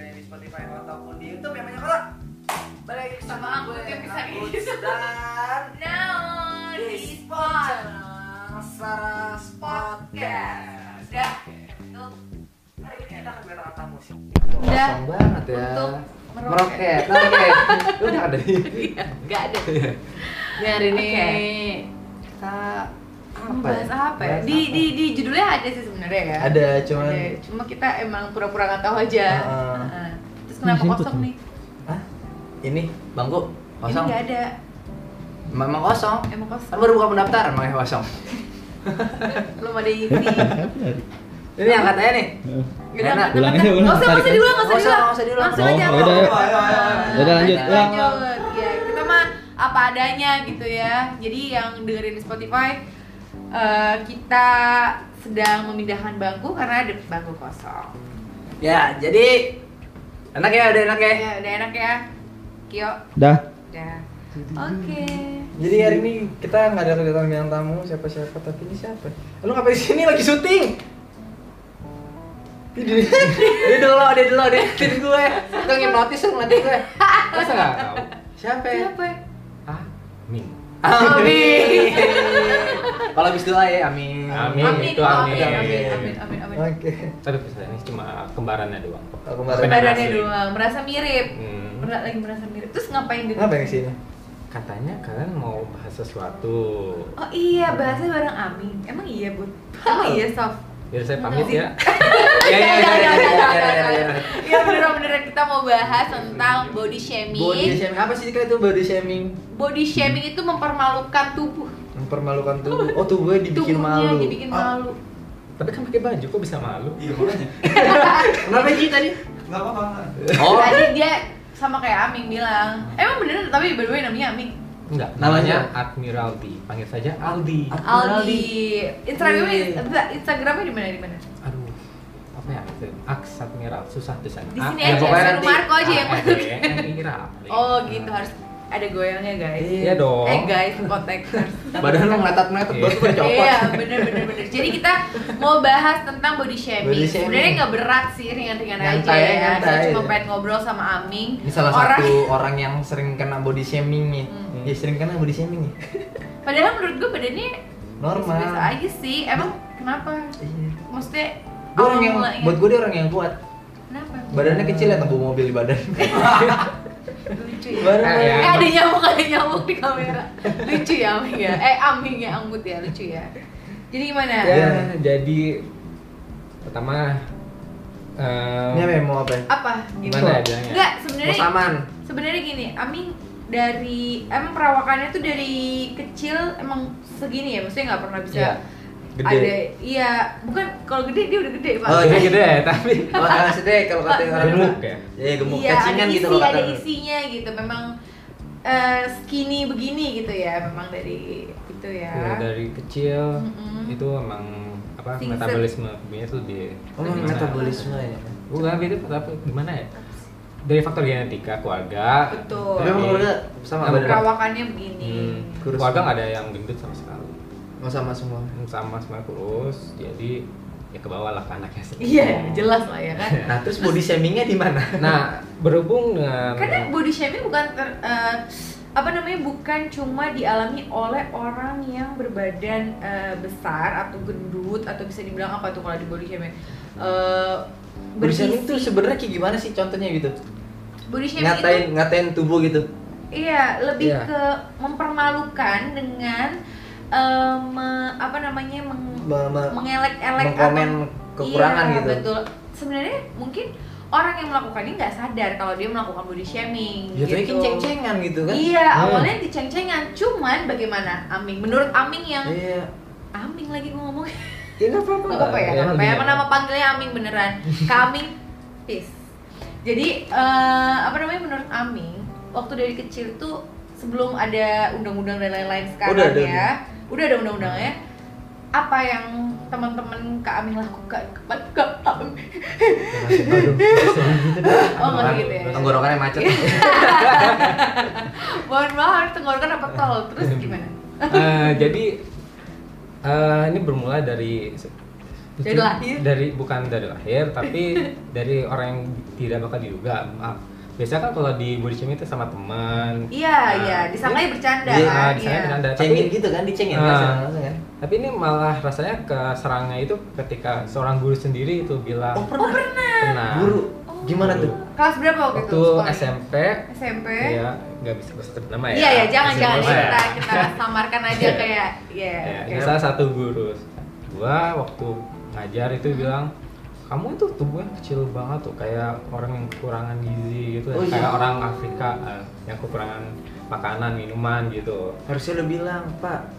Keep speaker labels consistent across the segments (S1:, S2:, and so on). S1: Spotify ataupun di YouTube yang banyak orang. Balik lagi sama
S2: Sama
S1: gue,
S2: aku, yang bisa
S1: Agus,
S2: gitu.
S1: dan
S2: Now
S1: di
S2: di
S1: Spot
S2: spot.
S1: Channel Saras Podcast.
S2: Podcast. Udah. Untuk
S1: Hari ini kita akan berkata musik.
S2: Udah.
S3: Kosong banget ya.
S2: Untuk Iya. meroket.
S3: meroket. Oke. Udah ada.
S2: Gak ada.
S3: Ini hari ini
S2: Iya. Oke.
S3: kita
S2: Mau bahas apa ya?
S3: Bahas
S2: Di,
S3: apa?
S2: di, di judulnya ada sih sebenarnya ya.
S3: Ada cuman
S2: Ada. Cuma kita emang pura-pura nggak tahu aja.
S3: Heeh.
S2: Heeh. Terus kenapa
S3: Dijemput
S2: kosong
S3: nih.
S2: nih?
S3: Hah? Ini bangku kosong.
S2: Ini nggak ada.
S3: Memang kosong.
S2: Emang
S3: Kan
S2: kosong.
S3: baru buka pendaftar, emang kosong.
S2: Belum ada ini.
S3: Ini yang katanya nih.
S2: Gak
S3: Enak.
S2: ada.
S4: Ulang aja, ulang.
S2: Nggak usah, nggak usah
S4: Tarik.
S2: diulang, nggak usah
S3: Nggak usah,
S2: diulang.
S3: nggak usah diulang.
S2: Langsung aja.
S4: Oh, yaudah,
S2: Bang.
S4: yuk.
S3: Ayo, ayo, ayo.
S4: Yaudah, lanjut,
S2: Lanjut,
S4: ulang.
S2: Ya, kita mah apa adanya gitu ya. Jadi yang dengerin di Spotify eh, kita sedang memindahkan bangku karena ada bangku kosong.
S3: Ya, jadi enak ya, udah enak ya.
S2: Ya, udah enak ya. Kyo,
S4: Dah.
S2: udah. Oke.
S3: Jadi hari ini kita nggak ada kedatangan yang tamu siapa-siapa tapi ini siapa? Lu ngapain di sini lagi syuting? Dia dulu, dia dulu, dia dulu, dia ngeliatin gue. Kau nginotis lu ngeliatin gue. Masa nggak tahu? Siapa? ya?
S2: Siapa? ya?
S3: Ah, Amin.
S2: Amin.
S3: Kalau habis doa ya, amin.
S5: Amin,
S4: Iya,
S2: Amin,
S5: itu
S2: oh,
S5: amin.
S2: amin, amin, amin, amin, amin.
S3: Oke.
S5: Tapi pesan ini cuma kembarannya doang.
S3: Aku kemarin
S5: Benar.
S2: Badannya
S5: asli.
S2: dua, merasa mirip.
S5: Hmm.
S2: Mer- lagi merasa mirip. Terus ngapain gitu?
S3: ngapain kesini?
S5: Katanya kalian mau bahas sesuatu.
S2: Oh iya, bahasnya bareng Amin. Emang iya, Bu. Emang iya, Sof.
S5: Biar saya pamit
S3: Oh.
S5: ya.
S3: Ya, ya, ya, ya, ya, ya, ya, ya.
S2: Iya beneran beneran kita mau bahas tentang body shaming.
S3: Body shaming apa sih Dika, itu body shaming?
S2: Body shaming itu mempermalukan tubuh.
S3: Mempermalukan tubuh. Oh, tubuhnya
S2: Tubuhnya
S3: dibikin malu. Oh.
S2: dibikin malu.
S5: Tapi kan pakai baju kok bisa malu?
S4: Iya makanya.
S3: Kenapa sih tadi?
S4: Enggak apa-apa. nggak.
S3: Oh,
S2: Tadi dia sama kayak Aming bilang. Emang beneran tapi by the way namanya Aming.
S5: Enggak.
S3: Namanya?
S5: Namanya Admiralty. Panggil saja Aldi.
S2: Aldi. Instagramnya
S3: Iya.
S2: enggak, Instagramnya di mana di mana?
S5: Aduh. Apa ya? Aks Admiral. Susah tuh Ah, sana.
S2: Di sini
S3: ya,
S2: aja,
S3: pokoknya
S2: suruh
S3: nanti- Ah,
S2: Marco aja
S5: Ah,
S2: yang
S5: eh,
S2: masuk.
S5: Admiral.
S2: Oh gitu harus ada goyangnya guys.
S5: Iya dong.
S2: Eh guys, kontak.
S3: badan lo ngeliat-ngeliat baru pada copot.
S2: Iya, bener bener bener. Jadi kita mau bahas tentang body shaming.
S3: Body shaming.
S2: Sebenarnya nggak berat sih, ringan-ringan aja
S3: Nyantai,
S2: ya. Saya
S3: nyantai.
S2: cuma pengen ngobrol sama Aming.
S3: Ini salah
S2: Orang-
S3: satu orang yang sering kena body shaming nih.
S2: Hmm.
S3: Ya sering kena body shaming nih.
S2: Padahal menurut gue badannya
S3: Normal.
S2: biasa aja sih. Emang kenapa?
S3: Iya.
S2: Maksudnya
S3: Gue orang yang
S2: mulanya-
S3: buat gue dia orang yang kuat.
S2: Kenapa?
S3: Badannya kecil ya tempuh mobil di badan.
S2: Lucu ya.
S3: Badan
S5: Eh,
S3: ya.
S2: Eh ada nyamuk ada nyamuk di kamera. Lucu ya Aming ya. Eh Aming ya Anggut ya lucu ya. Jadi gimana?
S3: Iya.
S5: Ya, jadi pertama eh,
S3: Ini apa ya, mau apa? ya?
S2: Apa?
S5: gimana
S3: Gitu.
S5: adanya?
S2: Enggak
S3: Mau
S2: sebenarnya
S3: saman.
S2: sebenarnya gini Aming dari emang perawakannya tuh dari kecil emang segini ya maksudnya nggak pernah bisa
S3: Iya, gede.
S2: ada iya bukan kalau gede dia udah gede pak
S3: Oh,
S5: Gede gede gitu ya, tapi
S3: Kalau maksudnya kalau kata orang
S5: gemuk ya.
S3: Ya gemuk
S2: iya ada
S3: cacingan
S2: isi
S3: gitu kalau kata.
S2: ada isinya gitu memang eh, skinny begini gitu ya memang dari itu
S5: Ya,
S2: ya
S5: dari kecil
S2: Mm-mm.
S5: itu emang apa
S2: Singset.
S5: metabolisme tubuhnya tuh di
S3: Oh, metabolisme ya.
S5: bukan itu apa gimana ya dari faktor genetika keluarga
S2: Betul.
S3: Tapi emang keluarga sama
S5: Sama
S3: badan.
S2: perawakannya begini
S5: Hmm,
S3: Kurus.
S5: keluarga nggak ada yang gendut sama sekali Hmm,
S3: Mau sama semua.
S5: sama sama kurus jadi ya ke bawah lah ke anaknya sendiri.
S2: iya jelas lah ya kan
S3: Nah, terus body shamingnya di mana?
S5: nah berhubung dengan
S2: Karena
S3: Iya.
S2: body shaming bukan ter- eh, apa namanya bukan cuma dialami oleh orang yang berbadan eh, besar atau gendut atau bisa dibilang apa tuh kalau di body shaming Eh,
S3: Body
S2: berisi-
S3: shaming tuh sebenarnya kayak gimana sih contohnya gitu?
S2: body shaming itu
S3: Ngatain ngatain tubuh gitu.
S2: iya lebih
S5: Iya.
S2: ke mempermalukan dengan eh, me- apa namanya meng-
S3: Me- me-
S2: mengelek-elek atau-
S3: mengkomen kekurangan
S2: Iya,
S3: gitu.
S2: betul sebenarnya mungkin orang yang melakukannya nggak sadar kalau dia melakukan body shaming
S3: Jatuhnya
S2: gitu.
S3: kan ceng-cengan gitu kan?
S2: Iya,
S5: Hmm.
S2: awalnya diceng-cengan, cuman bagaimana Aming? Menurut Aming yang
S3: Iya.
S2: Aming lagi gue ngomong
S3: Ya nggak apa-apa.
S2: nggak apa-apa ya, nggak apa-apa ya.
S5: iya.
S2: Emang nama panggilnya Aming beneran. Kaming, peace. Jadi eh, apa namanya menurut Aming, waktu dari kecil tuh sebelum ada undang-undang dan lain-lain sekarang
S3: Udah ada
S2: ya, udah ada undang-undangnya. Apa yang teman-teman Kak Aming lakukan kepada Kak Aming? Oh nggak gitu ya.
S3: Tenggorokannya macet.
S2: Mohon maaf, tenggorokan apa tol? Terus gimana?
S5: Eh, jadi eh, ini bermula dari se-
S2: Dari lahir?
S5: Dari bukan dari lahir, tapi dari orang yang tidak bakal diduga. Maaf. Biasanya kan kalau di body shaming itu sama teman.
S2: Iya,
S5: Nah,
S2: iya, disangkanya bercanda
S5: Iya,
S2: kan.
S5: disangkanya
S2: iya.
S5: bercanda. Tapi,
S3: cengin gitu kan dicengin
S5: Ah.
S3: kan langsung kan
S5: tapi ini malah rasanya ke serangnya itu ketika seorang guru sendiri itu bilang
S3: oh pernah,
S5: pernah
S3: guru
S2: Oh.
S3: gimana tuh
S2: Kelas berapa waktu itu?
S5: waktu
S2: sekolah?
S5: SMP,
S2: SMP.
S5: ya nggak bisa gue sebut nama ya.
S2: Eh? Iya ya, jangan
S5: Sebut
S2: jangan
S5: nama ya.
S2: kita kita samarkan aja
S5: Iya.
S2: kayak ya.
S5: Ya,
S2: oke.
S5: ini
S3: iya.
S5: salah satu guru. Gua waktu ngajar itu bilang kamu itu tubuhnya kecil banget tuh kayak orang yang kekurangan gizi gitu,
S3: Oh, iya.
S5: kayak orang Afrika eh, yang kekurangan makanan minuman gitu.
S3: harusnya lo bilang pak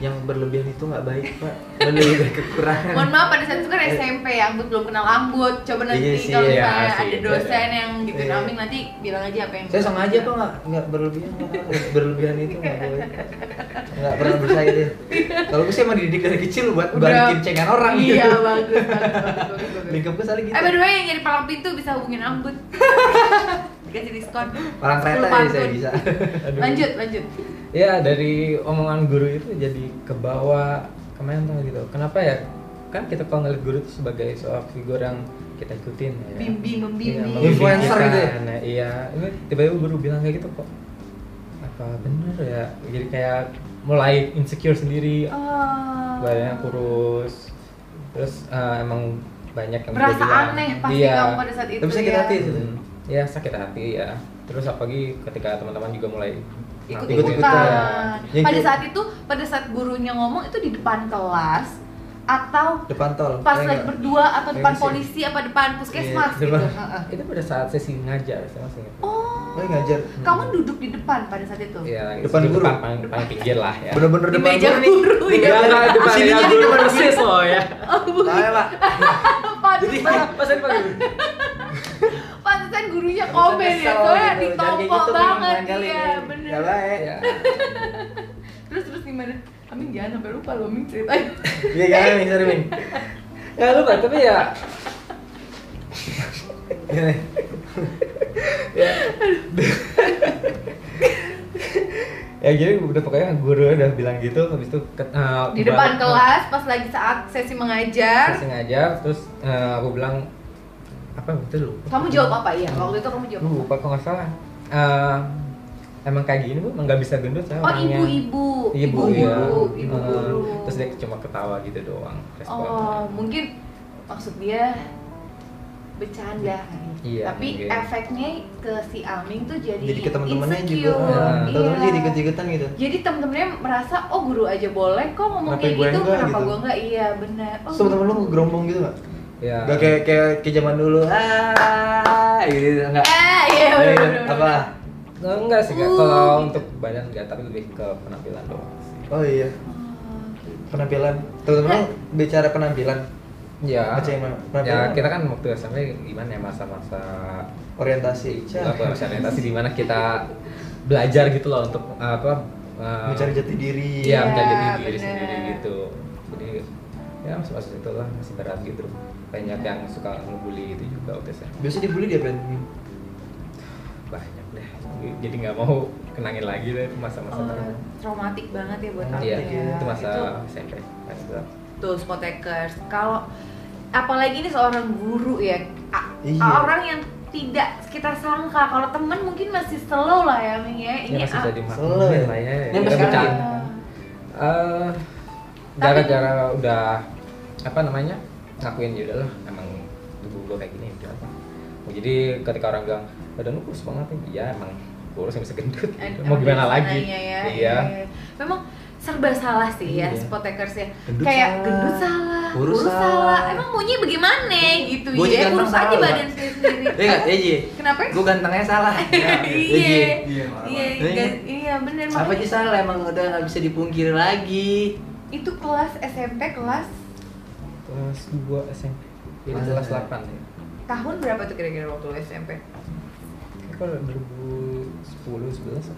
S3: yang berlebihan itu nggak baik pak lebih dari kekurangan
S2: Mohon maaf pada saat itu kan SMP ya, Anggut belum kenal Anggut. Coba nanti
S3: Iya sih,
S2: kalau
S5: iya
S2: misalnya
S5: sih,
S2: ada
S5: iya.
S2: dosen yang gituin
S3: Iya.
S2: Aming nanti bilang aja apa yang
S3: saya sengaja pak nggak nggak berlebihan Pak. Nggak berlebihan itu nggak boleh nggak pernah percaya deh kalau gue sih emang dididik dari kecil buat
S2: Udah.
S3: balikin cengan orang gitu
S2: Iya, bagus, bagus, bagus, bagus, bagus.
S3: lingkup gue soalnya gitu
S2: Eh, by the way, yang jadi palang pintu bisa hubungin Anggut. Dikasih diskon.
S3: orang
S2: 10
S3: kereta ya saya
S2: pantun.
S3: bisa Iya.
S5: Aduh.
S2: Lanjut, lanjut.
S5: Ya dari omongan guru itu jadi kebawa kemental gitu. Kenapa ya? Kan kita kalau ngeliat guru itu sebagai seorang figur yang kita ikutin. Ya.
S2: Bimbing, membimbing.
S5: Iya,
S3: Influencer
S5: kita.
S3: gitu ya?
S5: Nah, iya, ini tiba-tiba guru bilang kayak gitu kok. Apa bener ya? Jadi kayak mulai insecure sendiri,
S2: Oh.
S5: badannya kurus. Terus eh, emang banyak yang
S2: Berasa
S5: berlebihan.
S2: aneh pasti
S5: Iya.
S2: kamu pada saat itu
S3: Tapi sakit
S2: ya.
S3: hati itu.
S5: Hmm, ya sakit hati ya. Terus apalagi ketika teman-teman juga mulai
S2: ikut
S5: ngakuin, ya.
S2: ikutan.
S3: Yang
S2: Pada
S3: ju-
S2: saat itu, pada saat gurunya ngomong itu di depan kelas atau
S3: depan tol
S2: pas lagi
S3: Saya nggak-
S2: berdua atau
S3: Kayak
S2: depan
S3: mesin.
S2: polisi apa depan puskesmas
S5: Iya,
S2: gitu.
S5: depan.
S2: Heeh.
S5: itu pada saat sesi ngajar saya masih ingat
S2: Oh.
S3: Oh, ngajar.
S2: Kamu duduk di depan pada saat itu.
S5: ya
S3: Depan
S5: itu
S3: guru.
S5: depan, paling, paling pinggir lah ya
S3: bener-bener
S2: Di
S3: depan
S2: meja
S3: gua nih. Iya.
S2: guru ya.
S5: Enggak, enggak, depan
S3: Sini
S5: ya,
S3: jadi
S5: guru
S3: depan
S5: persis loh ya
S3: Tahu, Pak.
S2: Pantesan,
S5: masa depan
S2: pantesan gurunya komen ya,
S3: Kesel
S2: soalnya
S3: gitu. Jangan kayak
S2: ditompok
S3: gitu, Bang,
S2: banget
S3: lain kali. Iya.
S2: ya, bener.
S3: Nggak baik.
S5: ya
S2: Terus terus gimana? Amin jangan sampai lupa loh Amin ceritain.
S3: Iya gimana Ming? Sorry Ming.
S5: ya lupa tapi ya
S3: Gimana?
S5: ya jadi udah pokoknya guru udah bilang gitu habis itu ke- eh,
S2: Di depan
S5: baru-
S2: kelas pas lagi saat sesi mengajar,
S5: sesi ngajar terus eh, aku bilang apa betul lupa
S2: kamu jawab apa iya? Waktu itu kamu jawab.
S5: Lu lupa kok nggak salah Eh, emang kayak gini bu emang nggak bisa gendut saya
S2: Oh
S5: orangnya.
S2: ibu-ibu,
S5: ibu ya.
S2: ibu-guru, ibu
S5: Eh,
S2: guru.
S5: terus dia cuma ketawa gitu doang responnya.
S2: Oh mungkin maksud dia bercanda kali.
S5: Iya,
S2: Tapi
S5: mungkin.
S2: efeknya ke si Aming tuh jadi,
S3: Jadi ke teman-temannya juga.
S2: insecure.
S5: Nah,
S2: Iya. Oh.
S3: Teman-temannya jadi ikut-ikutan gitu.
S2: Jadi temen-temennya merasa oh guru aja boleh kok ngomong
S3: Kenapa
S2: kayak
S3: gue
S2: gitu,
S3: enggak
S2: kenapa
S3: gitu?
S2: gue enggak? Iya benar.
S3: Terus teman-teman
S2: Eh,
S3: lu ngegerombong gitu nggak?
S5: ya
S3: Gak kayak kayak kayak zaman dulu. Ah, gitu enggak.
S2: Eh iya benar. benar,
S3: Apa?
S2: benar.
S5: Nggak, enggak sih Kak.
S2: Uh,
S5: kalau
S2: gitu.
S5: untuk badan enggak tapi lebih ke penampilan doang sih.
S3: Oh iya,
S2: Oh, gitu.
S3: penampilan. Teman-teman lu bicara penampilan
S5: ya
S3: Baca yang mana?
S5: ya
S3: Penampilan.
S5: kita kan waktu SMP gimana ya masa-masa
S3: orientasi. Cah,
S5: apa masa orientasi di mana kita belajar gitu loh untuk apa eh,
S3: Mencari jati diri.
S5: iya mencari
S2: Iya,
S5: jati diri
S2: bener.
S5: sendiri gitu jadi ya masuk masuk itu lah masih berat gitu banyak yang suka ngebully gitu juga waktu SMP
S3: Biasa dibully dia Ben.
S5: banyak deh jadi nggak mau kenangin lagi deh itu masa-masa
S2: Oh,
S5: tersebut.
S2: traumatik banget ya buat Aming
S5: Iya,
S2: ya.
S5: itu masa
S2: Itu-
S5: SMP.
S2: Tuh spotekers. Kalau apalagi ini seorang guru ya, a-
S3: Iya.
S2: orang yang tidak kita sangka. Kalau temen mungkin masih slow lah ya, Ming ya. Ini
S5: Ini Iya, masih
S2: a-
S5: bisa dimaklumin
S3: Selalu ya.
S5: lah
S3: Ini
S5: ya.
S3: sampai
S5: Kita
S3: sekarang
S5: bercanda.
S2: Ah.
S5: Eh, gara-gara udah apa namanya ngakuin ya udahlah emang tubuh gue kayak gini udah apa. Oh, Jadi ketika orang bilang badan lu kurus banget nih, iya emang kurus yang bisa gendut.
S2: Eh, emang
S5: Mau gimana
S2: dari
S5: lagi?
S2: sananya ya.
S5: Iya.
S2: Iya. Memang serba salah sih ya
S5: Iya.
S2: spotekers ya.
S3: Gendut
S2: Kayak
S3: salah,
S2: gendut salah, kurus,
S3: kurus
S2: salah.
S3: salah.
S2: Emang maunya bagaimana gitu
S3: Gua juga
S2: ya.
S3: emang
S2: Kurus aja
S3: salah.
S2: badan saya sendiri.
S3: Iya enggak? Iya, Ji.
S2: Kenapa?
S3: Gue gantengnya salah.
S2: Iya.
S3: Iya.
S2: Iya,
S3: Iya.
S2: ga- iya bener
S3: Apa sih
S2: makanya
S3: salah emang udah nggak bisa dipungkiri lagi.
S2: itu kelas SMP kelas
S5: Kelas 2 SMP. Jadi
S3: Masa
S5: kelas
S3: ya?
S5: 8 ya.
S2: tahun berapa tuh kira-kira waktu lu SMP?
S5: Kayaknya Kalau 2010 11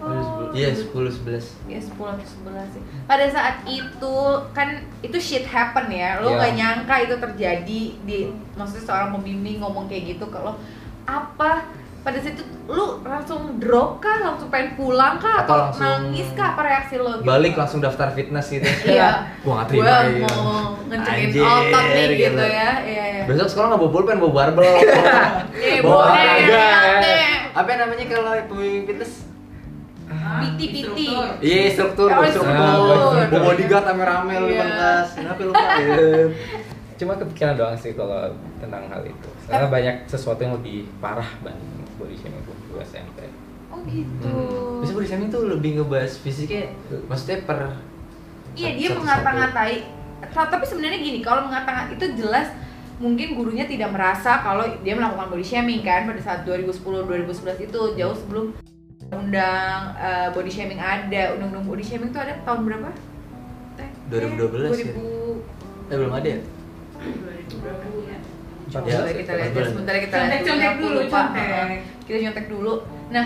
S2: Oh.
S3: Iya, 10 11.
S2: ya 10 atau 11 sih. Pada saat itu kan itu shit happen ya. Lo
S5: Iya.
S2: nggak nyangka itu Hmm. terjadi di maksudnya seorang pembimbing ngomong kayak gitu kalau apa pada saat itu lu langsung drop kah langsung pengen pulang kah
S3: Atau
S2: atau,
S3: langsung
S2: nangis kah apa reaksi lo gitu?
S3: balik langsung daftar fitness gitu
S2: iya
S5: Gua nggak
S2: gue
S5: terima ya.
S2: mau ngencengin
S3: Anjir,
S2: otot nih gitu,
S3: gitu.
S2: ya iya iya
S3: besok sekolah nggak bawa pulpen bawa barbel
S2: Eh, boleh,
S3: Bawa olahraga,
S2: nanti.
S3: apa namanya kalau pemimpin fitness
S2: Piti-piti.
S3: Iya struktur,
S2: Oh,
S3: struktur,
S5: struktur.
S3: Bawa bodyguard rame-rame lu
S2: Iya.
S3: pentas, kenapa lu Pak? Gitu.
S5: Cuma kepikiran doang sih kalau tentang hal itu. Karena banyak sesuatu yang lebih parah banding body shaming gua gua SMP.
S2: oh gitu
S3: Hmm. Biasanya body shaming tuh lebih ngebahas fisiknya, maksudnya per
S2: Iya dia
S3: satu-satu.
S2: mengata-ngatai. Ta- Tapi sebenarnya gini, kalau mengata itu jelas mungkin gurunya tidak merasa kalau dia melakukan body shaming kan pada saat 2010-2011 itu jauh sebelum undang eh, body shaming ada undang-undang body shaming itu ada tahun berapa? Eh, Teh?
S3: 2012 ya?
S2: 2000
S3: Eh belum ada ya?
S2: 2000
S4: Iya.
S2: ya?
S5: Empat
S2: Coba
S5: belas,
S2: kita
S5: empat
S2: lihat ya,
S3: belas.
S2: sebentar kita lihat
S4: Contek contek
S2: Aku
S4: dulu,
S2: lupa.
S4: contek.
S2: Kita nyontek dulu. Nah,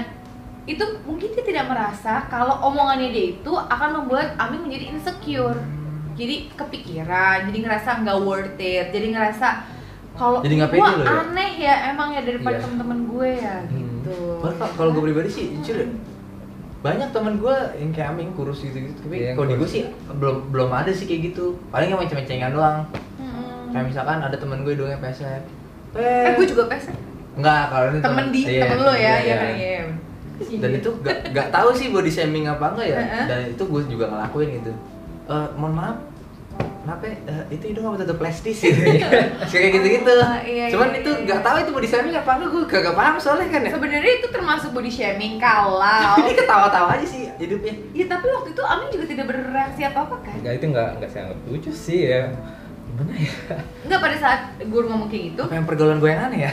S2: itu mungkin dia tidak merasa kalau omongannya dia itu akan membuat Ami menjadi insecure. Jadi kepikiran, jadi ngerasa nggak worth it, jadi ngerasa kalau
S3: Jadi nggak
S2: gua
S3: pede loh ya?
S2: aneh ya emang ya daripada
S5: Iya.
S2: temen-temen gue ya
S3: Hmm.
S2: gitu.
S3: Padahal kalau- kalau gue pribadi sih, jujur ya, banyak teman gue yang kayak aming kurus gitu gitu tapi
S5: Iya, yang
S3: kalau di gue
S5: kurus.
S3: sih belum belum ada sih kayak gitu paling yang macam-macaman doang
S2: Mm-mm.
S3: kayak misalkan ada teman gue doang yang pesek
S2: Hmm. Eh,
S3: eh
S2: gue juga pes
S3: nggak kalau ini
S2: temen di
S3: iya,
S2: temen lo ya,
S3: iya,
S2: ya
S3: iya.
S2: kan iya.
S3: dan itu gak, gak tahu sih body shaming apa enggak ya
S2: Heeh.
S3: dan itu gue juga ngelakuin gitu Eh, mohon maaf kenapa ya? Eh, itu hidung apa tutup plastis gitu kayak gitu gitu
S2: Ah, iya,
S3: cuman
S2: iya,
S3: itu
S2: iya.
S3: gak tahu itu body shaming apa enggak gue gak, gak paham soalnya kan ya
S2: Sebenarnya itu termasuk body shaming kalau
S3: ini ketawa-tawa aja sih hidupnya
S2: Iya tapi waktu itu Amin juga tidak bereaksi apa-apa kan?
S5: Enggak itu enggak enggak saya anggap lucu sih ya. Gimana ya?
S2: Enggak pada saat gue ngomong kayak gitu
S3: apa yang pergaulan gue yang aneh ya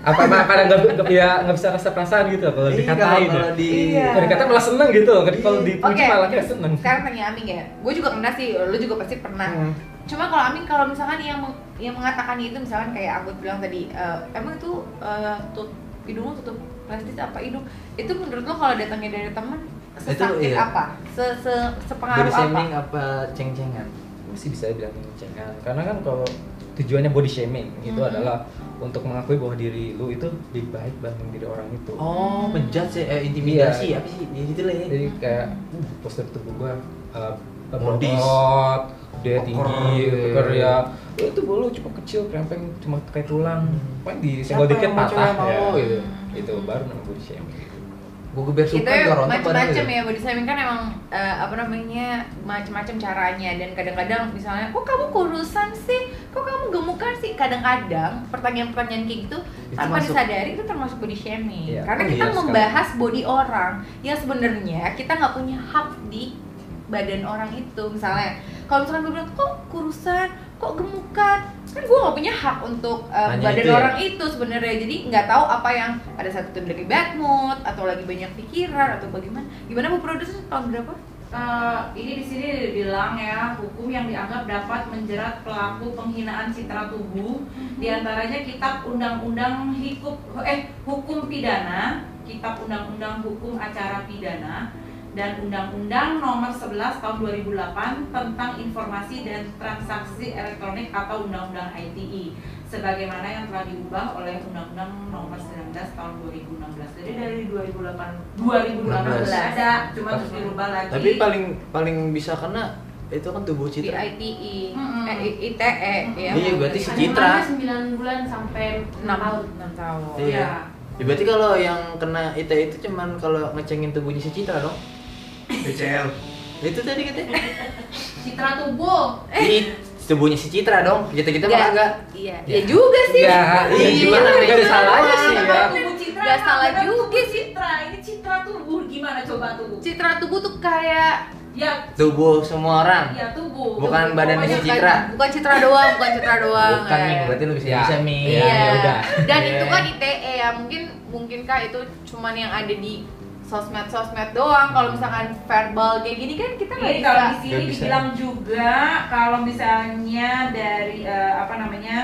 S5: Apa apa karena enggak enggak ya enggak bisa rasa perasaan gitu kalau
S3: Iya,
S5: dikatain. ya.
S3: kalau di
S2: Iya.
S5: Kalau dikatain malah seneng gitu. Kalau
S3: Iya.
S5: dipuji malah enggak seneng.
S2: sekarang tanya Amin ya Gue juga pernah sih, lo juga pasti pernah
S3: Hmm.
S2: Cuma kalau Amin kalau misalkan yang meng- yang mengatakan itu misalkan kayak aku bilang tadi "Eh, Emang itu eh, tut hidung lo tutup plastis apa hidung Itu menurut lo kalau datangnya dari temen sesakit
S3: iya.
S2: apa? Se -se
S3: body
S2: Sepengaruh apa?
S3: shaming apa ceng-cengan
S5: Gue sih bisa bilang cengan karena kan kalau tujuannya body shaming itu
S2: Mhm.
S5: adalah untuk mengakui bahwa diri lu itu lebih baik banding diri orang itu.
S3: oh
S2: Hmm.
S3: penjat sih eh, intimidasi
S5: Iya.
S3: apa sih ya gitu lah ya
S5: jadi kayak uh, postur tubuh gua uh,
S3: Modis. gitu.
S5: berotot, dia tinggi,
S3: Keker.
S5: keker ya "Eh, itu bolu cukup kecil, krempeng cuma kayak tulang paling disenggol
S3: Siapa
S5: dikit
S3: yang mau
S5: patah
S3: cewek mau
S5: ya
S3: gitu?
S5: itu baru namanya body shaming
S3: gue geber
S2: itu
S3: suka jorong
S2: macam-macam ya body shaming kan emang eh, apa namanya macam-macam caranya dan kadang-kadang misalnya kok kamu kurusan sih kok kamu gemukan sih kadang-kadang pertanyaan-pertanyaan kayak gitu
S3: Itu
S2: tanpa
S3: masuk.
S2: disadari itu termasuk body shaming
S5: Iya.
S2: karena
S3: Oh,
S2: kita
S3: iya
S2: membahas body orang yang sebenarnya kita nggak punya hak di badan orang itu misalnya kalau misalkan gue bilang kok kurusan kok gemukan kan gue nggak punya hak untuk eh,
S3: Nanya
S2: badan
S3: itu ya?
S2: orang itu sebenarnya jadi nggak tahu apa yang pada saat itu lagi bad mood atau lagi banyak pikiran atau bagaimana gimana bu produser tahun berapa
S4: Eh, ini di sini dibilang ya hukum yang dianggap dapat menjerat pelaku penghinaan citra tubuh diantaranya kitab undang-undang hukum eh hukum pidana kitab undang-undang hukum acara pidana dan undang-undang nomor 11 tahun 2008 tentang informasi dan transaksi elektronik atau undang-undang ITE sebagaimana yang telah diubah oleh undang-undang nomor 19 tahun 2016 jadi dari 2008 2018 sudah ada cuma terus dirubah lagi
S3: tapi paling paling bisa kena itu kan tubuh
S2: di
S3: citra
S2: ITE
S4: Mm-mm.
S2: eh, I- ITE ya
S3: Iya, berarti si
S2: sih
S3: Citra.
S6: Ancamannya 9 bulan sampai 6
S2: enam
S6: tahun.
S2: enam tahun
S3: Iya. Ya, berarti kalau yang kena itu itu cuman kalau ngecengin tubuhnya si Citra dong. BCL. Itu tadi katanya.
S6: Citra tubuh.
S2: Eh.
S3: Ini tubuhnya si Citra dong. Kita kita malah enggak.
S2: iya iya juga sih
S5: Ya,
S3: Iya, gimana nggak ada salahnya sih ya.
S2: kan
S4: Tubuh Citra
S2: Nggak salah
S4: kadang
S2: juga
S4: tubuh
S2: sih.
S4: Citra ini Citra tubuh gimana coba tubuh
S2: citra tubuh tuh kayak
S4: ya
S3: Tubuh semua orang.
S2: Iya.
S4: ya tubuh
S3: Bukan
S4: Tubuh.
S3: badannya
S4: Pokoknya
S3: si Citra.
S2: kan bukan citra doang bukan citra doang
S3: Bukan nih,
S2: kayak.
S3: berarti lu bisa
S5: Ya.
S3: bisa Mi.
S5: Iya,
S2: Iya.
S5: ya udah.
S2: Dan
S3: Iya.
S2: itu kan ITE ya, mungkin mungkinkah itu cuman yang ada di sosmed-sosmed doang. Kalau misalkan verbal kayak gini kan kita nggak
S4: Ini
S2: bisa.
S4: Iya, kalau di sini
S3: Iya, Nggak bisa.
S4: dibilang juga kalau misalnya dari eh, apa namanya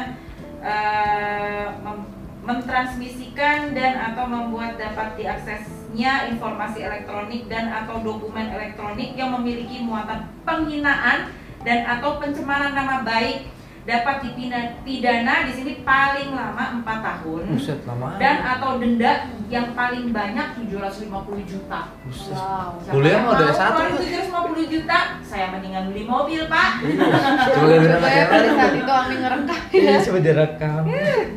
S4: eh, mem- mentransmisikan dan atau membuat dapat diaksesnya informasi elektronik dan atau dokumen elektronik yang memiliki muatan penghinaan dan atau pencemaran nama baik dapat dipidana pidana di sini paling lama 4 tahun
S3: Buset lama.
S4: dan atau denda yang paling banyak 750 juta.
S3: Buset.
S6: Wow.
S4: Siapa
S3: Boleh
S4: yang
S3: mah udah
S4: mau
S3: S1
S4: keluar
S3: tuh.
S4: 750 juta, saya mendingan beli mobil, Pak.
S3: Coba lihat ya. anak
S2: Saya
S3: yang
S2: pada
S3: lain.
S2: saat itu Ami ngerengkah
S5: Iya, coba direkam.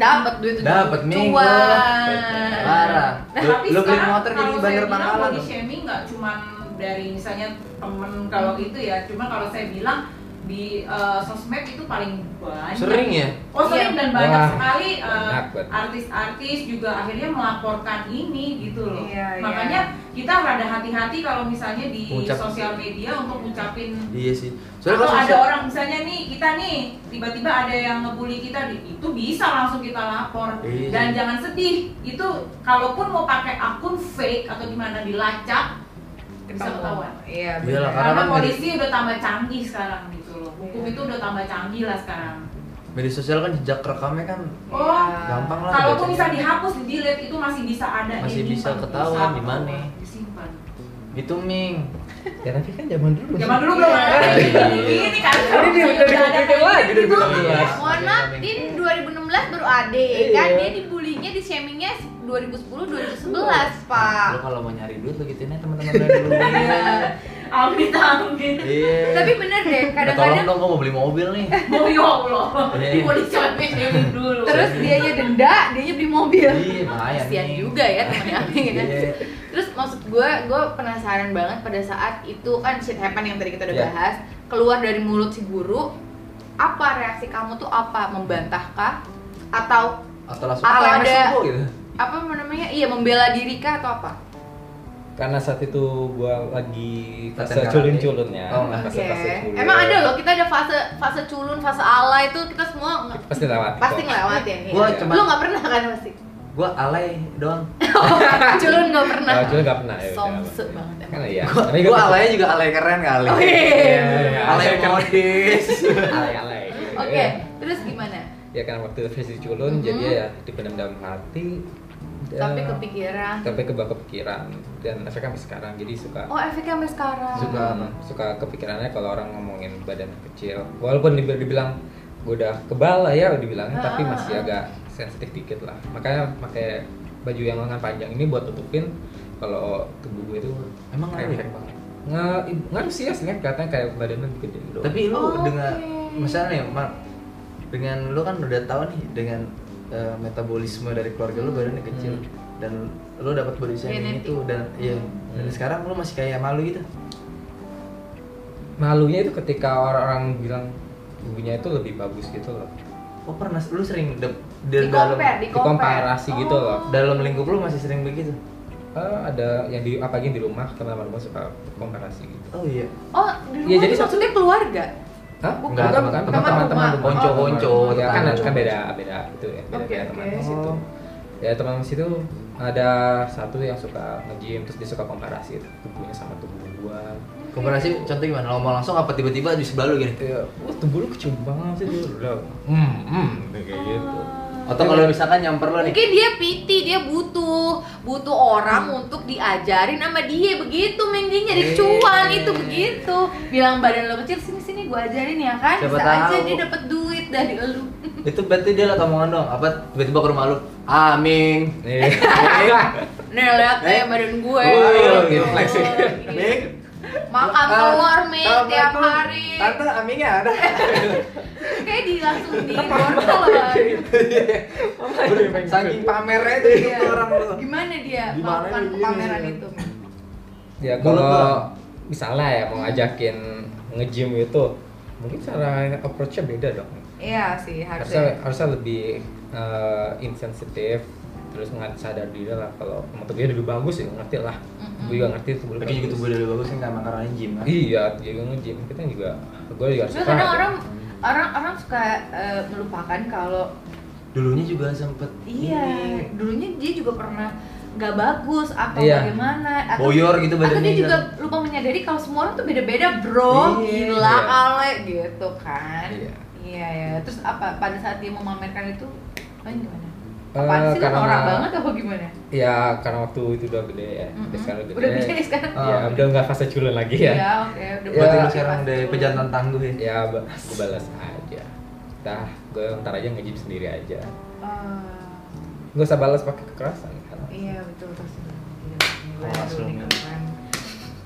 S2: Dapat duit itu
S3: Dapat minggu.
S2: Cuan
S3: Parah. Lu, lu beli
S4: Nah, sekarang
S3: motor jadi
S4: kalau
S3: bandar
S4: saya bilang
S3: pangkalan.
S4: body
S3: dong.
S4: shaming nggak cuman dari misalnya temen kalau itu ya, cuma kalau saya bilang di eh, sosmed itu paling banyak.
S3: Sering ya?
S2: Iya.
S4: Oh sering dan banyak
S5: Wah,
S4: sekali eh,
S5: banyak banget.
S4: artis-artis juga akhirnya melaporkan ini gitu loh.
S2: Iya,
S4: Makanya kita rada hati-hati kalau misalnya di
S3: Ngucap.
S4: sosial media untuk ngucapin
S3: Iya sih.
S4: atau
S3: kalau
S4: ada
S3: sosial-
S4: orang misalnya nih kita nih tiba-tiba ada yang ngebully kita di- itu bisa langsung kita lapor
S3: Iya.
S4: dan jangan sedih itu kalaupun mau pakai akun fake atau gimana dilacak bisa ketahuan
S2: Iya
S3: Iya lah,
S2: bener.
S3: karena
S4: karena
S3: kan
S4: polisi udah tambah canggih sekarang gitu loh
S3: Iya.
S4: hukum itu udah tambah canggih lah sekarang
S3: media sosial kan jejak rekamnya kan
S4: oh
S2: Iya.
S3: gampang lah.
S4: kalaupun
S3: dibacanya.
S4: bisa dihapus di delete itu masih bisa ada
S3: Masih
S4: disimpan,
S3: bisa ketahuan
S4: bisa
S3: di mana.
S4: disimpan
S3: Gitu Ming.
S5: Ya tapi kan zaman dulu.
S4: zaman dulu belum ada
S3: Iya.
S4: kayak gini ini kan
S3: Ini dia udah iya. dipikir lagi dari
S4: gitu.
S3: dulu.
S2: Mohon maaf, dia di 2016 baru ade
S3: Iya.
S2: Kan dia dibulinya, di shamingnya 2010, 2011 pak
S3: Lu kalau mau nyari duit lu gituin aja teman-teman lu dulu. Iya.
S4: amit amit
S3: Iya.
S2: Tapi bener deh,
S3: Nah, tolong
S2: kadang-kadang
S3: dong, gua mau beli mobil nih.
S4: mau ya Allah
S3: Iya.
S4: mau dicemin dulu
S2: Terus dianya denda, dianya beli mobil
S3: Iya, bahaya
S2: Kasian
S3: nih.
S2: juga ya temennya Ami ya.
S3: Iya.
S2: Terus maksud gue, gue penasaran banget pada saat itu kan shit happen yang tadi kita udah
S5: Iya.
S2: bahas Keluar dari mulut si guru Apa reaksi kamu tuh apa? Membantahkah? Atau
S3: Atau langsung
S2: Atau
S3: "Ah, lemes
S2: ada-
S3: lu," gitu.
S2: apa namanya? Iya, membela diri kah atau apa?
S5: Karena saat itu gua lagi fase
S3: Latihan
S5: culun-culunnya.
S3: karate. Oh, nggak.
S5: fase fase culun.
S2: Emang ada loh, kita ada fase fase culun, fase alay itu kita semua nge-
S5: Pasti lewat.
S2: pasti ngelewatin. ya.
S3: Gua cuma-
S2: Lu nggak pernah kan pasti?
S3: Gua alay doang.
S2: culun nggak pernah.
S5: Kalau culun nggak pernah, ya udah.
S2: Somse banget emang.
S5: Kan iya.
S3: Gua,
S5: Tapi
S3: gua
S5: gua-
S3: alaynya juga alay keren kali.
S2: Oh, iya.
S3: Alay kan. modis.
S5: alay alay.
S2: Oke, terus gimana?
S5: Ya karena waktu versi culun
S2: Mhm.
S5: jadi ya dipendam dalam hati. ya,
S2: Sampai kepikiran.
S5: Sampai ke kepikiran dan efeknya sampai sekarang jadi suka
S2: Oh, efeknya sampai sekarang.
S5: suka suka kepikirannya kalau orang ngomongin badan kecil walaupun dibi- dibilang gue udah kebal lah ya dibilang
S2: Ah,
S5: tapi
S2: ah, ah.
S5: masih agak sensitif dikit lah makanya pakai baju yang lengan panjang ini buat tutupin kalau tubuh gue itu
S3: Emang ngaruh ya?
S5: kayak banget nggak ngaruh sih ya sebenarnya katanya kayak badannya gede doang.
S3: Tapi lu
S2: Oke.
S3: dengan misalnya nih, Mar, dengan lu kan udah tahu nih dengan eh, metabolisme dari keluarga lu badannya kecil
S5: Hmm.
S3: dan lu dapat body
S2: Genetik.
S3: shaming itu dan iya dan
S5: Hmm.
S3: sekarang lu masih kayak malu gitu.
S5: malunya itu ketika orang-orang bilang tubuhnya itu lebih bagus gitu loh
S3: Oh pernah lu sering dap-
S2: Di
S3: da- dalam
S2: compare, di compare.
S5: dikomparasi gitu loh
S3: dalam lingkup lu masih sering begitu.
S2: Oh.
S5: Eh, ada yang di apalagi di rumah teman-teman rumah suka komparasi gitu
S3: Oh iya.
S2: Oh, di rumah
S5: Iya,
S2: jadi
S5: jadi satu-
S2: maksudnya keluarga.
S5: Hah?
S2: Bukan,
S5: Enggak,
S3: bukan.
S5: bukan.
S2: Teman
S5: Teman-teman
S2: rumah.
S5: Ponco,
S3: Oh, teman
S5: ponco. Ya
S3: rumah.
S5: kan, kan
S3: Teman
S5: beda, beda itu ya. Beda,
S2: Oke,
S5: beda teman
S2: oke.
S5: di situ. Ya teman di situ ada satu yang suka nge-gym terus dia suka komparasi tubuhnya sama tubuh gua.
S3: Komparasi contoh gimana? Lo mau langsung apa tiba-tiba di sebelah lu gini?
S5: Ya, wah tubuh lu kecubang banget sih dia. Udah, Hmm, hmm, kayak gitu.
S3: Atau kalau misalkan nyamper lo nih.
S2: Mungkin dia piti, dia butuh butuh orang untuk diajarin sama dia begitu Meng dia nyari
S3: Eh.
S2: cuan itu begitu. Bilang badan lo kecil sini sini gua ajarin ya kan.
S3: Siapa
S2: Bisa aja
S3: tahu.
S2: dia dapat duit dari lu.
S3: Itu berarti dia lah omongan dong. Apa tiba-tiba ke rumah lu? Aming.
S5: Nih.
S2: Nih lihat ya
S3: Eh.
S2: badan gue.
S3: Wah, iya,
S2: Gitu.
S3: gitu, flexing.
S2: Gini.
S3: Ming.
S2: Makan
S3: Ah,
S2: telur Meng tiap hari.
S3: Assalamualaikum. Tante amingnya ada.
S2: Kayak di langsung di
S3: Iya,
S2: borgol.
S3: Saking pamernya tuh
S2: Iya.
S3: hidup orang lu.
S2: Gimana dia
S3: Gimana
S2: melakukan
S3: dia?
S2: pameran itu?
S5: Ya
S3: Mulut doang.
S5: kalau misalnya ya mau ngajakin nge-gym itu mungkin cara approach-nya beda dong.
S2: Iya sih harusnya.
S5: harusnya harusnya lebih eh, insensitif terus nggak sadar diri lah kalau emang tubuhnya lebih bagus ya ngerti lah
S2: Mm-mm.
S5: gue juga ngerti tubuh lu
S3: Lagi juga tubuh dari bagus kan karena karena gym kan.
S5: iya dia juga nge-gym kita juga gue juga harus
S2: Cuma
S5: paham
S2: kadang
S5: ya.
S2: orang orang orang suka eh, melupakan kalau
S3: Dulunya juga sempet
S2: iya
S3: ini.
S2: dulunya dia juga pernah nggak bagus atau
S5: Iya.
S2: bagaimana atau
S3: Boyor gitu
S2: atau
S3: badannya.
S2: dia juga lupa menyadari kalau semua orang tuh beda-beda bro
S3: Iya.
S2: gila
S5: Iya.
S2: ale gitu kan
S5: Iya.
S2: iya ya terus apa pada saat dia memamerkan itu kan gimana
S5: Eh,
S2: apa sih lu
S5: karena-
S2: orang banget apa gimana
S5: ya karena waktu itu udah gede ya
S2: Mm-mm.
S5: udah sekarang udah gede
S2: udah gede sekarang
S5: ya udah nggak fase culun lagi ya
S2: Iya, oke udah
S5: Berarti
S3: Berarti
S5: lu
S3: sekarang udah pejantan tangguh ya.
S5: ya ba- gue balas aja dah gue ntar aja ngejip sendiri aja
S2: Eh,
S5: gak usah balas pakai kekerasan kan
S2: iya betul pasti.
S3: Oh, langsung.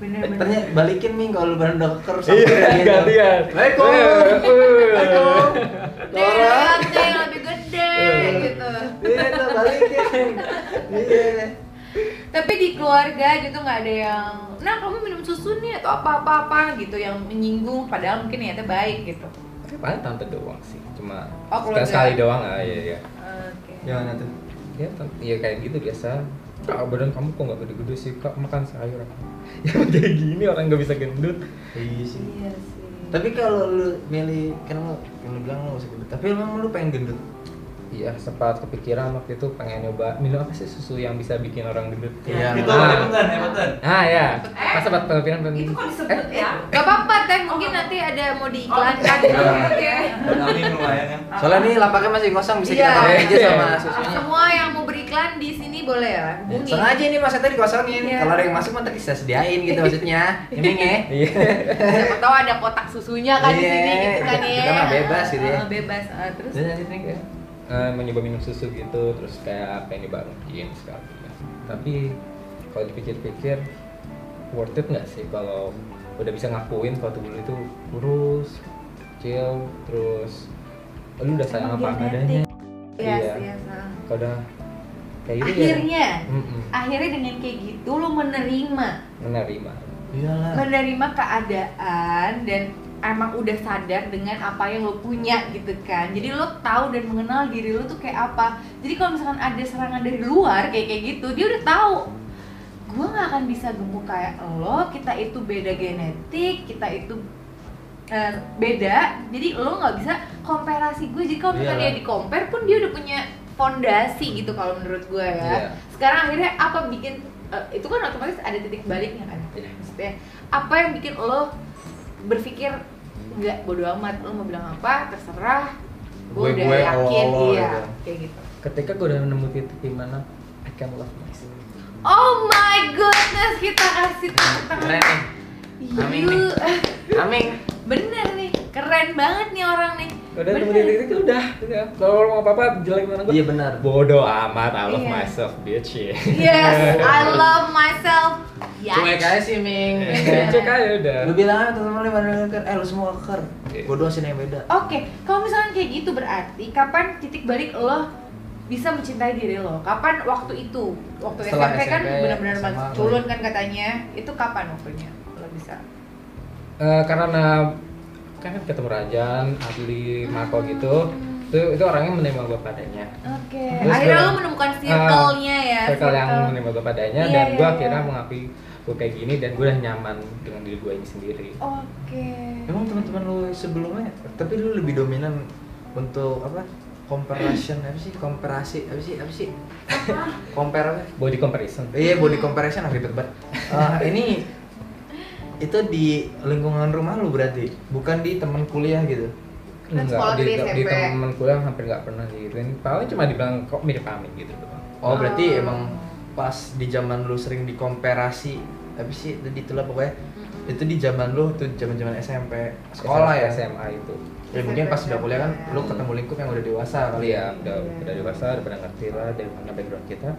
S2: Bener-bener.
S3: Ternyata balikin Ming kalau lu baru udah keker gitu.
S5: gantian
S3: Assalamualaikum. Assalamualaikum. Dora.
S2: Ada yang lebih gede gitu.
S3: Iya, tuh, balikin. Iya.
S2: Tapi di keluarga gitu nggak ada yang, nah kamu minum susu nih atau apa-apa-apa gitu yang menyinggung. Padahal mungkin niatnya baik gitu.
S5: paling tante doang sih cuma
S2: Oh, keluarga.
S5: sekali sekali doang ah iya iya
S2: Oke.
S3: Gimana tuh?
S5: ya, tan- ya kayak gitu biasa kak badan kamu kok nggak gede-gede sih kak makan sayur apa ya kayak gini orang nggak bisa gendut
S3: Iya sih.
S2: Iya sih.
S3: Tapi kalau lu milih kan lu lu bilang lu masih gendut, tapi emang lu pengen gendut.
S5: Iya, sempat kepikiran waktu itu pengen nyoba minum apa sih susu yang bisa bikin orang gendut.
S3: Iya.
S7: Itu
S5: Nah.
S7: hebat hebat
S5: Ah ya,
S4: Eh,
S5: pas sempat kepikiran pengen. Eh,
S4: Itu kok disebut ya?
S2: Gak apa-apa teh, mungkin
S3: Oh.
S2: nanti ada mau
S3: iya.
S2: gitu, diiklankan.
S4: Oh,
S5: Iya.
S4: oke, oke.
S7: Amin lumayan kan.
S3: Soalnya nih lapaknya masih kosong bisa kita
S2: ya. Ah. Iya.
S3: pakai aja
S5: Iya.
S3: sama susunya.
S2: Semua yang mau beriklan di sini boleh ya, hubungi.
S3: Sengaja ini maksudnya dikosongin.
S2: Iya.
S3: Kalau ada yang masuk nanti kita sediain gitu maksudnya. Ini nge.
S5: Iya.
S2: Siapa tahu ada kotak susunya kan di sini
S3: Iya,
S2: gitu kan ya.
S3: kita mah bebas gitu ya.
S2: Ah, Bebas. Ah, terus
S5: Iya.
S3: Dan nanti nih kayak
S5: Eh, mau nyoba minum susu gitu, terus kayak pengen nyoba mungkin sekali. Tapi kalau dipikir-pikir worth it nggak sih kalau udah bisa ngakuin kalau tubuh lu itu kurus, kecil, terus lu udah sayang apa adanya.
S2: Iya,
S5: Iya.
S2: yes, ah.
S5: Kalau udah kayak gitu ya.
S2: Akhirnya,
S5: Mm-mm.
S2: akhirnya dengan kayak gitu lo menerima,
S5: menerima.
S3: iyalah.
S2: menerima keadaan dan emang udah sadar dengan apa yang lo punya gitu kan. Jadi lo tahu dan mengenal diri lo tuh kayak apa. Jadi kalau misalkan ada serangan dari luar kayak kayak gitu, dia udah tahu. Gue nggak akan bisa gemuk kayak lo. Kita itu beda genetik, kita itu eh, beda. Jadi lo nggak bisa komparasi gue. Jadi kalau misalkan dia
S3: Iyalah.
S2: di compare pun dia udah punya fondasi gitu kalau menurut gue ya
S5: Iya.
S2: sekarang akhirnya apa bikin eh, itu kan otomatis ada titik baliknya kan
S5: Iya.
S2: maksudnya apa yang bikin lo berpikir nggak bodo amat lo mau bilang apa terserah gue udah
S3: Gue- gue,
S2: yakin
S3: lo- lo
S2: iya
S3: gitu.
S2: kayak gitu
S5: Ketika gue udah nemu titik di mana I can love myself.
S2: oh my goodness kita kasih tepuk
S3: Keren
S2: tangan
S3: nih. Amin nih.
S2: Yuk, eh,
S3: Amin.
S2: bener nih keren banget nih orang nih
S5: udah
S2: Bener.
S5: temu titik titik udah udah kalau orang mau apa apa jelek mana gue
S3: Iya benar.
S5: bodoh amat I love
S2: Iya.
S5: myself bitch ya
S2: yes I love myself ya
S3: Cuek aja sih Ming.
S2: Iya.
S5: cek aja udah
S3: Lu bilang aja teman-teman lu pada ngeker, eh lu semua ngeker.
S5: Iya.
S3: Gua doang sih yang beda.
S2: Oke, kalau misalkan kayak gitu berarti kapan titik balik lo bisa mencintai diri lo? Kapan waktu itu? Waktu
S3: Setelah
S2: SMP, kan
S3: SMP,
S2: benar-benar
S3: sama
S2: mas-
S3: lo.
S2: culun kan katanya. Itu kapan waktunya lo bisa?
S5: Eh, karena kan ketemu Rajan Adli Marco
S2: Hmm.
S5: gitu itu itu orangnya menerima gue padanya
S2: Oke.
S5: Terus
S2: Akhirnya
S5: gue-
S2: lo menemukan circle-nya ya.
S5: circle yang
S2: circle.
S5: menerima gue padanya
S2: Iya,
S5: dan
S2: iya,
S5: gue
S2: iya.
S5: akhirnya mengakui gue kayak gini dan gue udah nyaman dengan diri gue ini sendiri
S2: Oke.
S3: Emang teman-teman lu sebelumnya, tapi lu lebih dominan untuk apa? Comparison apa sih? Komparasi apa sih? Apa sih? Compare apa?
S5: body comparison
S3: Iya body comparison ah, ribet banget. Eh, ini itu di lingkungan rumah lu berarti, bukan di teman kuliah gitu.
S2: Kan sekolah
S5: di,
S2: dari SMP.
S5: di temen kuliah hampir nggak pernah gitu. digituin paling cuma dibilang kok mirip Amin gitu doang
S3: Oh berarti
S2: Oh.
S3: emang pas di zaman lu sering dikomparasi apa sih? Itu itulah pokoknya
S2: Hmm.
S3: itu di zaman lu tuh zaman-zaman SMP sekolah ya.
S5: SMA itu
S3: Ya mungkin pas udah kuliah kan lu ketemu lingkup yang udah dewasa kali ya.
S5: Iya, udah udah dewasa, udah pada ngerti lah dari mana background kita.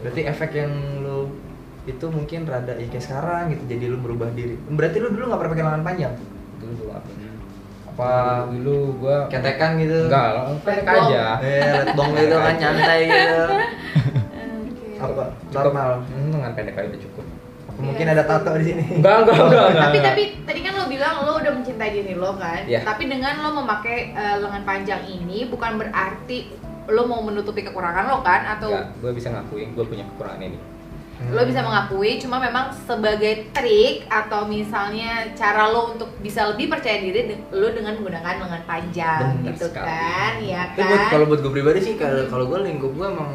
S3: Berarti efek yang lu itu mungkin rada ya kayak sekarang gitu jadi lu berubah diri. Berarti lu dulu nggak pernah pakai lengan panjang.
S5: Dulu dulu apa?
S3: Apa
S5: dulu gua
S3: ketekan gitu.
S5: Enggak, lah, ketek aja.
S3: Eh, letbong gitu kan nyantai gitu.
S2: Oke. Iya.
S3: Apa
S5: Cukup.
S3: normal?
S5: Hmm, lengan pendek aja udah cukup.
S3: Apa Mungkin ada tato di sini.
S5: Enggak, enggak, enggak. enggak,
S2: Tapi
S5: enggak.
S2: tapi tadi kan lo bilang lo udah mencintai diri lo kan.
S5: Iya.
S2: Tapi dengan lo memakai eh, lengan panjang ini bukan berarti lo mau menutupi kekurangan lo kan atau
S5: Enggak, gua bisa ngakuin gua punya kekurangan ini.
S2: lo bisa mengakui cuma memang sebagai trik atau misalnya cara lo untuk bisa lebih percaya diri de- lo dengan menggunakan lengan panjang
S5: Benar
S2: gitu
S5: sekali.
S2: kan ya
S3: Tapi
S2: kan
S3: buat kalau buat gue pribadi sih kalau kalau gue lingkup gue emang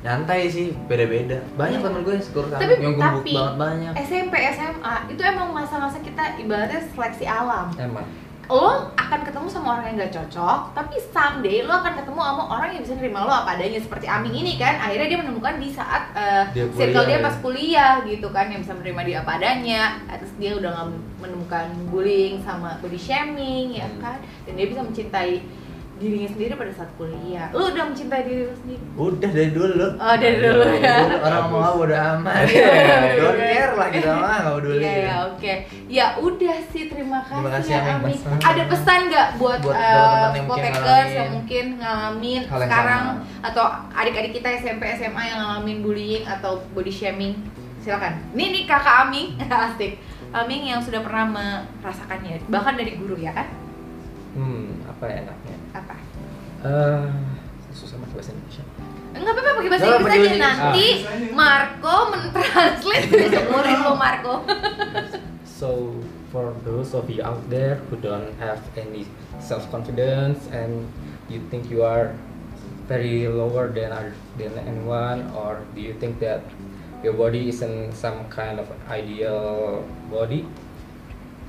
S3: nyantai sih beda-beda banyak temen gue yang sekurang
S2: Tapi-
S3: yang gemuk
S2: tapi-
S3: banget banyak
S2: SMP SMA itu emang masa-masa kita ibaratnya seleksi alam
S5: Emang.
S2: lo akan ketemu sama orang yang gak cocok tapi someday lo akan ketemu sama orang yang bisa nerima lo apa adanya seperti Aming ini kan akhirnya dia menemukan di saat eh,
S3: Dia
S2: circle
S3: kuliah,
S2: dia
S3: ya.
S2: pas kuliah gitu kan yang bisa menerima dia apa adanya terus dia udah gak menemukan bullying sama body shaming ya
S3: Hmm.
S2: kan dan dia bisa mencintai dirinya sendiri pada saat kuliah lo udah mencintai diri lo sendiri
S3: Udah dari dulu. Iya,
S2: Oh, dari dulu ya.
S3: Orang mau apa udah amat.
S2: Iya.
S3: Don't care lah kita mah enggak peduli.
S2: Iya ya oke. Ya udah sih terima kasih,
S3: Terima kasih,
S2: ya
S3: Aming.
S2: Aming.
S3: Pesan.
S2: Ada pesan nggak buat,
S3: Buat
S2: eh,
S3: teman-teman yang mungkin
S2: apotekers
S3: ngalamin
S2: yang mungkin ngalamin
S3: hal yang
S2: sekarang
S3: sama.
S2: atau adik-adik kita SMP SMA yang ngalamin bullying atau body shaming? Silakan. Ini nih kakak Aming, asik. Aming yang sudah pernah merasakannya, bahkan dari guru ya kan?
S5: Hmm, apa ya enaknya?
S2: Apa?
S5: Eh, susah banget bahasa Indonesia.
S2: Enggak apa-apa pakai bahasa
S3: Nggak Ah. apa-apa,
S2: Inggris aja
S3: pakai bahasa
S2: nanti
S1: Inggris.
S2: Marco mentranslate besok murid lo Marco.
S5: So for those of you out there who don't have any self confidence and you think you are very lower than oth- than anyone, or do you think that your body isn't some kind of ideal body?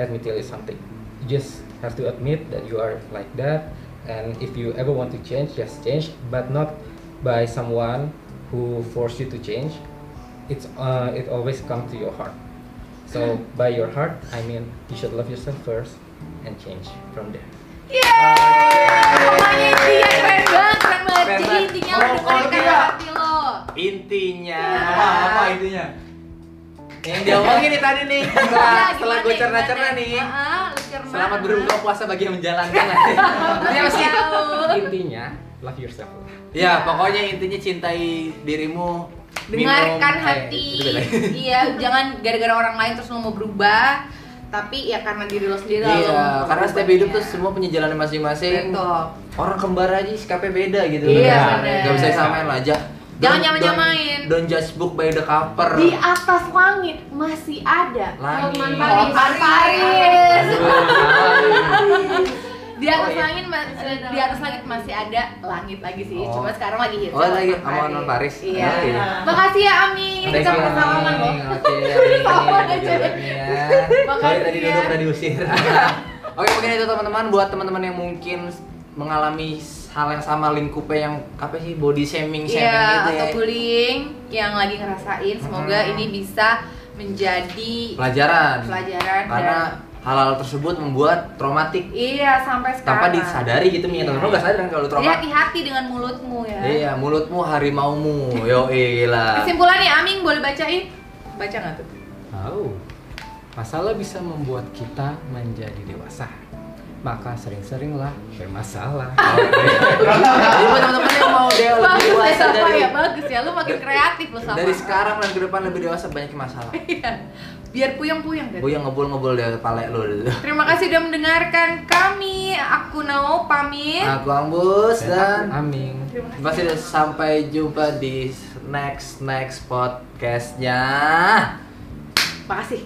S5: Let me tell you something. You just have to admit that you are like that, and if you ever want to change, just change, but not by someone who force you to change. It's uh, it always comes to your heart. So by your heart, I mean you should love yourself first and change from there.
S2: Yeay! Pokoknya intinya keren banget, keren banget.
S3: Keren
S2: Jadi
S3: banget.
S2: intinya lo
S3: Oh, Kalau- kalau
S2: dengerin kata
S3: tidak-
S2: hati lo.
S3: Intinya.
S2: Apa, apa
S3: intinya? Yang diomongin nih tadi nih. Setelah,
S2: Iya,
S3: setelah
S2: gimana,
S3: gue
S2: gimana?
S3: cerna-cerna nih.
S2: Ah, lu cerna.
S3: Selamat berbuka puasa bagi yang menjalankan ya. aja.
S2: Iya, tahu.
S5: Intinya, love yourself. lah.
S3: Ya, pokoknya intinya cintai dirimu.
S2: Dengarkan
S3: minum, eh,
S2: hati.
S3: itu beda.
S2: Iya, jangan gara-gara orang lain terus lo mau berubah. Tapi ya karena diri lo sendiri lah lo
S3: Iya,
S2: mau
S3: karena setiap
S2: berubahnya.
S3: hidup tuh semua punya jalannya masing-masing.
S2: ya. Betul.
S3: Orang kembar aja sikapnya beda gitu.
S2: Iya,
S3: Nggak
S2: bener.
S3: bisa disamain lah aja.
S2: Jangan
S3: Don't-
S2: nyamain-nyamain.
S3: Don't, don't judge book by the cover.
S2: Di atas langit masih ada
S3: Langit.
S6: Hotman
S2: Hotman
S6: Paris.
S2: Paris.
S3: Aduh, salah.
S2: Di atas
S3: Oh, iya.
S2: langit ma-
S6: Ada
S2: di atas langit masih ada langit lagi sih.
S3: Oh.
S2: Cuma sekarang lagi hits.
S3: Oh, lagi sama Hotman Paris.
S2: Iya.
S3: Oh, iya.
S2: Makasih ya Ami. Kita
S3: Thank you,
S2: pernah salaman loh.
S3: Aming. Oke, Aming.
S2: Salaman aja. ya.
S3: Jujur, Aming, ya.
S2: Makasih
S3: Sorry tadi
S2: ya.
S3: duduk udah diusir. Oke, mungkin itu teman-teman buat teman-teman yang mungkin mengalami hal yang sama lingkupnya yang apa sih body shaming shaming
S2: Iya,
S3: gitu ya.
S2: atau bullying yang lagi ngerasain semoga
S3: Mm-mm.
S2: ini bisa menjadi
S3: Mm-hmm. Pelajaran.
S2: pelajaran
S3: Karena
S2: dan
S3: hal-hal tersebut membuat traumatik
S2: iya sampai sekarang.
S3: tanpa disadari gitu
S2: Iya.
S3: ya teman-teman gak sadar kan kalau lu
S2: Jadi
S3: trauma.
S2: hati-hati dengan mulutmu ya.
S3: Iya, mulutmu harimaumu. Yo, gila.
S2: Kesimpulannya ya, Aming boleh bacain? Baca nggak tuh?
S5: Tahu, masalah bisa membuat kita menjadi dewasa. Maka sering-seringlah bermasalah.
S3: Jadi buat teman-teman yang mau dia lebih
S2: Bagus ya,
S3: dewasa
S2: Safa
S3: dari
S2: ya, bagus ya. Lu makin kreatif lu sama.
S3: Iya, dari sekarang dan ke depan lebih dewasa banyak masalah.
S2: Biar puyeng-puyeng deh.
S3: Gue yang ngebul-ngebul dari pale lu dulu.
S2: Terima kasih sudah mendengarkan kami. Aku Nao pamit.
S3: Aku Ambus
S5: Iya,
S3: dan
S5: Aming.
S3: masih sampai jumpa di next next podcastnya.
S2: Makasih.